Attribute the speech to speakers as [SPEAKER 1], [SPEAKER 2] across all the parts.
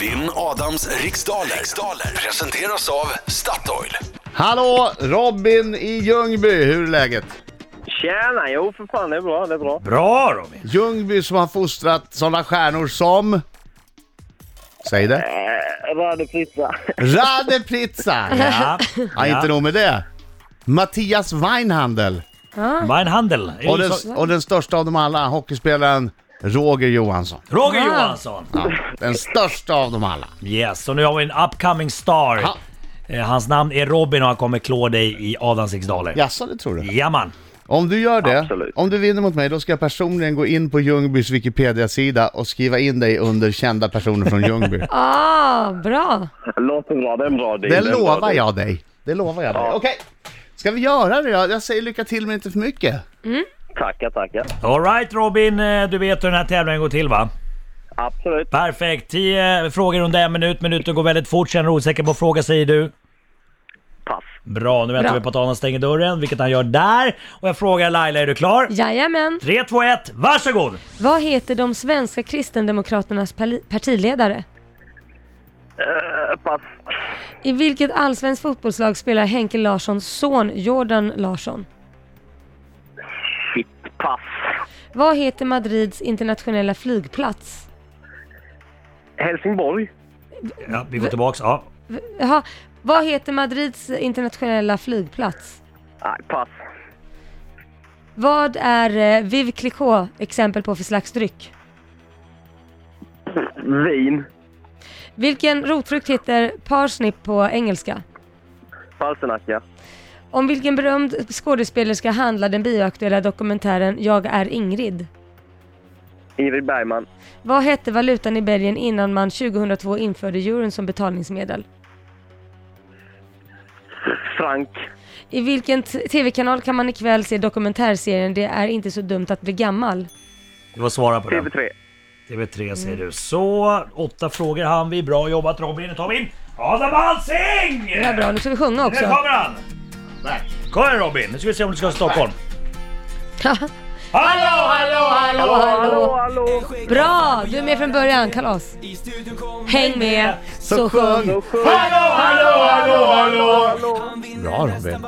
[SPEAKER 1] Vinn Adams riksdaler. riksdaler presenteras av Statoil.
[SPEAKER 2] Hallå! Robin i Ljungby, hur är läget?
[SPEAKER 3] Tjena! Jo, för fan, det är bra. Det är bra.
[SPEAKER 4] Bra Robin!
[SPEAKER 2] Ljungby som har fostrat sådana stjärnor som... Säg det.
[SPEAKER 5] Äh,
[SPEAKER 3] Eh, Radepritta.
[SPEAKER 2] Rade Pritsa! Ja,
[SPEAKER 4] Ja,
[SPEAKER 2] inte
[SPEAKER 4] ja.
[SPEAKER 2] nog med det. Mattias Weinhandel.
[SPEAKER 4] Weinhandel.
[SPEAKER 2] Och den, och den största av dem alla, hockeyspelaren Roger Johansson.
[SPEAKER 4] Roger
[SPEAKER 5] Wow.
[SPEAKER 4] Johansson.
[SPEAKER 2] Ja, den största av dem alla.
[SPEAKER 4] Yes, och nu har vi en upcoming star.
[SPEAKER 2] Ja.
[SPEAKER 4] Eh, Hans namn är Robin och han kommer klå dig i Adams riksdaler.
[SPEAKER 2] Jaså, det tror du?
[SPEAKER 4] Jajamän.
[SPEAKER 2] Om du gör det,
[SPEAKER 3] Absolut.
[SPEAKER 2] om du vinner mot mig, då ska jag personligen gå in på Ljungbys Wikipedia-sida och skriva in dig under kända personer från Ljungby.
[SPEAKER 5] Ah, bra.
[SPEAKER 3] Låter bra. Det är en bra deal.
[SPEAKER 2] Det
[SPEAKER 3] är en bra
[SPEAKER 2] lovar
[SPEAKER 3] deal.
[SPEAKER 2] jag dig. Det lovar jag dig. Okej, ska vi göra det då? Jag säger lycka till men inte för mycket.
[SPEAKER 3] Tackar, tackar.
[SPEAKER 4] Alright Robin, eh, du vet hur den här tävlingen går till va?
[SPEAKER 3] Absolut.
[SPEAKER 4] Perfekt. 10 frågor under en minut. Minuten går väldigt fort. Känner du osäker på fråga säger du?
[SPEAKER 3] Pass.
[SPEAKER 4] Bra, nu väntar
[SPEAKER 5] Bra.
[SPEAKER 4] vi på att Adam stänger dörren, vilket han gör där. Och jag frågar Laila, är du klar?
[SPEAKER 5] Jajamän.
[SPEAKER 4] 3, 2, 1, varsågod!
[SPEAKER 5] Vad heter de svenska kristendemokraternas pali- partiledare?
[SPEAKER 3] Eh, pass.
[SPEAKER 5] I vilket allsvenskt fotbollslag spelar Henke Larssons son Jordan Larsson?
[SPEAKER 3] Shit, pass.
[SPEAKER 5] Vad heter Madrids internationella flygplats?
[SPEAKER 3] Helsingborg.
[SPEAKER 4] Ja, vi går tillbaks. Ja.
[SPEAKER 5] Jaha, vad heter Madrids internationella flygplats?
[SPEAKER 3] Nej, pass.
[SPEAKER 5] Vad är eh, Viv Clicquot exempel på för slags dryck?
[SPEAKER 3] Vin.
[SPEAKER 5] Vilken rotfrukt heter parsnip på engelska?
[SPEAKER 3] Palsternacka.
[SPEAKER 5] Om vilken berömd skådespelerska handlar den bioaktuella dokumentären Jag är Ingrid?
[SPEAKER 3] Ingrid Bergman.
[SPEAKER 5] Vad hette valutan i Belgien innan man 2002 införde euron som betalningsmedel?
[SPEAKER 3] Frank.
[SPEAKER 5] I vilken t- tv-kanal kan man ikväll se dokumentärserien Det är inte så dumt att bli gammal?
[SPEAKER 4] Du får svara på den.
[SPEAKER 3] TV3.
[SPEAKER 4] TV3 säger du. Så, åtta frågor hann vi. Bra jobbat Robin. Nu tar vi in Adam Alsing!
[SPEAKER 5] Det här är bra, nu ska vi
[SPEAKER 4] Nu
[SPEAKER 5] sjunga också.
[SPEAKER 4] kommer han! Kom igen Robin, nu ska vi se om du ska till Stockholm. Hallå, hallå, hallå!
[SPEAKER 5] hallå, hallå.
[SPEAKER 3] Hallå!
[SPEAKER 5] Bra! Du är med från början, kalas. Häng med, så sjung.
[SPEAKER 4] Hallå, hallå, hallå, hallå!
[SPEAKER 2] Bra Robin.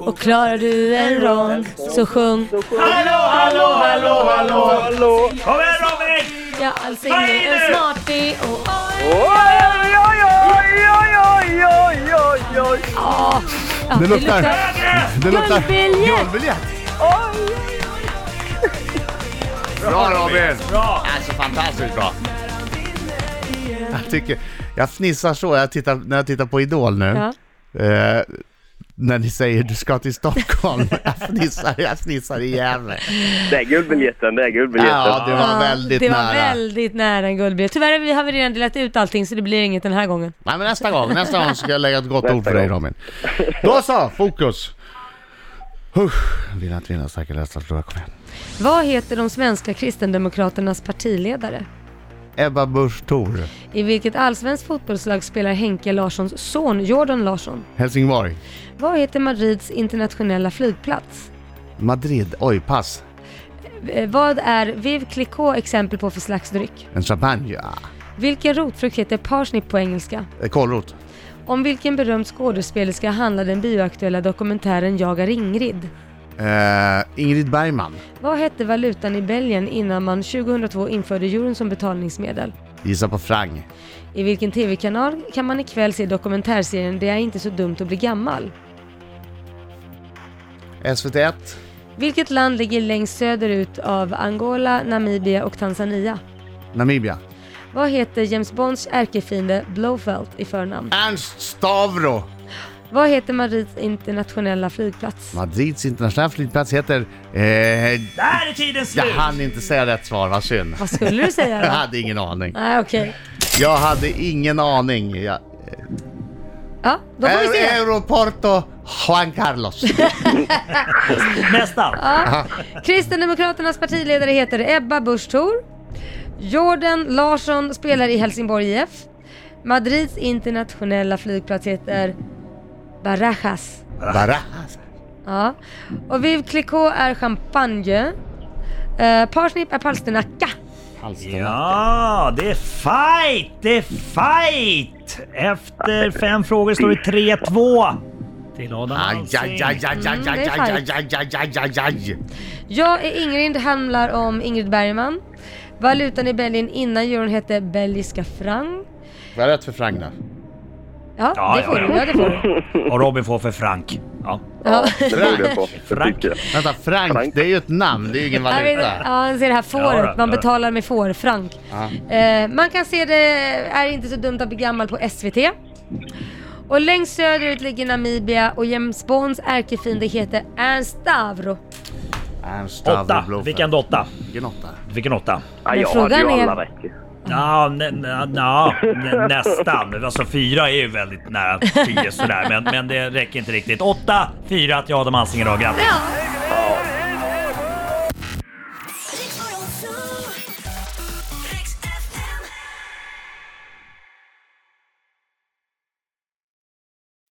[SPEAKER 5] Och klarar du en rond, så sjung.
[SPEAKER 4] Hallå, hallå, hallå, hallå! Kom igen Robin!
[SPEAKER 5] Ja, alltså är en smarty och oj,
[SPEAKER 3] Oj, oj, oj, oj, oj, oj, oj, oj.
[SPEAKER 5] ja. Ja,
[SPEAKER 2] Det luktar-
[SPEAKER 4] Högre!
[SPEAKER 2] Det
[SPEAKER 5] Guldbiljett!
[SPEAKER 2] Guldbiljett! Bra Robin!
[SPEAKER 4] Bra!
[SPEAKER 2] Alltså fantastiskt bra. Jag tycker, jag fnissar så jag tittar, när jag tittar på Idol nu.
[SPEAKER 5] Ja.
[SPEAKER 2] Eh, när ni säger du ska till Stockholm. Jag fnissar, jag fnissar igen.
[SPEAKER 3] Det är guldbiljetten, det är guldbiljetten.
[SPEAKER 2] Ja, det var
[SPEAKER 5] Ja,
[SPEAKER 2] väldigt
[SPEAKER 5] det
[SPEAKER 2] nära.
[SPEAKER 5] var väldigt nära en guldbiljett. Tyvärr vi har vi redan delat ut allting så det blir inget den här gången.
[SPEAKER 2] Nej men nästa gång, nästa gång ska jag lägga ett gott
[SPEAKER 3] Nästa
[SPEAKER 2] ord för dig
[SPEAKER 3] gång.
[SPEAKER 2] Robin. Då så, fokus! Usch, vill att vinna, starka läsare, tror jag. Kom igen.
[SPEAKER 5] Vad heter de svenska kristendemokraternas partiledare?
[SPEAKER 2] Ebba Busch Thor,
[SPEAKER 5] I vilket allsvenskt fotbollslag spelar Henke Larssons son Jordan Larsson?
[SPEAKER 2] Helsingborg,
[SPEAKER 5] Vad heter Madrids internationella flygplats?
[SPEAKER 2] Madrid, oj pass,
[SPEAKER 5] Eh, Vad är Viv Clicquot exempel på för slags dryck?
[SPEAKER 2] en champagne, ja.
[SPEAKER 5] Vilken rotfrukt heter parsnip på engelska?
[SPEAKER 2] Eh, kålrot,
[SPEAKER 5] Om vilken berömd skådespelerska handlar den bioaktuella dokumentären Jag är Ingrid?
[SPEAKER 2] eh, Ingrid Bergman,
[SPEAKER 5] Vad hette valutan i Belgien innan man 2002 införde euron som betalningsmedel?
[SPEAKER 2] gissa på Frang,
[SPEAKER 5] I vilken tv-kanal kan man ikväll se dokumentärserien Det är inte så dumt att bli gammal?
[SPEAKER 2] SVT1,
[SPEAKER 5] Vilket land ligger längst söderut av Angola, Namibia och Tanzania?
[SPEAKER 2] Namibia,
[SPEAKER 5] Vad heter James Bonds ärkefiende Blofeld i förnamn?
[SPEAKER 2] Ernst Stavro.
[SPEAKER 5] Vad heter Madrids internationella flygplats?
[SPEAKER 2] Madrids internationella flygplats heter... Eh,
[SPEAKER 4] Där är tiden
[SPEAKER 2] jag
[SPEAKER 4] slut!
[SPEAKER 2] hann inte säga rätt svar, vad synd.
[SPEAKER 5] Vad skulle du säga
[SPEAKER 2] Jag
[SPEAKER 5] då?
[SPEAKER 2] hade ingen aning.
[SPEAKER 5] Nej okej.
[SPEAKER 2] Jag hade ingen aning. Jag,
[SPEAKER 5] Ja, då får vi
[SPEAKER 2] Eh,
[SPEAKER 5] se.
[SPEAKER 2] Aeroporto Juan Carlos.
[SPEAKER 4] Nästan!
[SPEAKER 5] Kristdemokraternas partiledare heter Ebba Busch Thor. Jordan Larsson spelar i Helsingborg IF. Madrids internationella flygplats heter Barajas.
[SPEAKER 2] Bara.
[SPEAKER 5] Ja. Och Vive Clicquot är champagne. Eh, parsnip är palsternacka.
[SPEAKER 6] Alsternacken.
[SPEAKER 4] Ja, det är fight! Det är fight! Efter fem frågor står det 3-2 till Adam
[SPEAKER 2] Aj, aj, aj, aj,
[SPEAKER 4] Alsing.
[SPEAKER 2] aj, aj,
[SPEAKER 5] Mm, det är
[SPEAKER 2] aj, aj, aj, aj, aj, aj, aj.
[SPEAKER 5] Jag är Ingrid handlar om Ingrid Bergman. Valutan i Belgien innan euron hette belgiska franc.
[SPEAKER 2] Vad är rätt för Frank då?
[SPEAKER 5] Ja,
[SPEAKER 4] Ja,
[SPEAKER 5] det
[SPEAKER 4] ja,
[SPEAKER 5] får du.
[SPEAKER 4] ja.
[SPEAKER 5] Ja, det får du.
[SPEAKER 4] Och Robin får för Frank. Ja.
[SPEAKER 5] Ja.
[SPEAKER 7] Det borde jag få. Det
[SPEAKER 4] Frank.
[SPEAKER 7] tycker jag.
[SPEAKER 2] Vänta, Frank,
[SPEAKER 7] Frank.
[SPEAKER 2] det är ju ett namn, det är ju ingen
[SPEAKER 5] Jag vet,
[SPEAKER 2] valuta.
[SPEAKER 5] ja, ni ser det här
[SPEAKER 4] Ja, då,
[SPEAKER 5] fåret. Man
[SPEAKER 4] ja.
[SPEAKER 5] betalar med får, frank. Eh, man kan se det, är inte så dumt att bli gammal, på SVT. Och längst söderut ligger Namibia och James Bonds ärkefiende heter Ernst Stavro.
[SPEAKER 2] Ernst
[SPEAKER 4] Åtta.
[SPEAKER 2] Stavro
[SPEAKER 4] Vilken
[SPEAKER 2] Blomfeldt.
[SPEAKER 4] åtta?
[SPEAKER 2] Vilken åtta?
[SPEAKER 4] Vilken åtta?
[SPEAKER 7] Ja,
[SPEAKER 5] Men
[SPEAKER 7] jag hade ju
[SPEAKER 5] frågan är-
[SPEAKER 7] alla rätt ju.
[SPEAKER 4] Ja, nä, nä, nja, nä, nästan. Alltså fyra är ju väldigt nära tio sådär. Men, men det räcker inte riktigt. Åtta, fyra till Adam Alsing idag. Grattis!
[SPEAKER 5] Ja,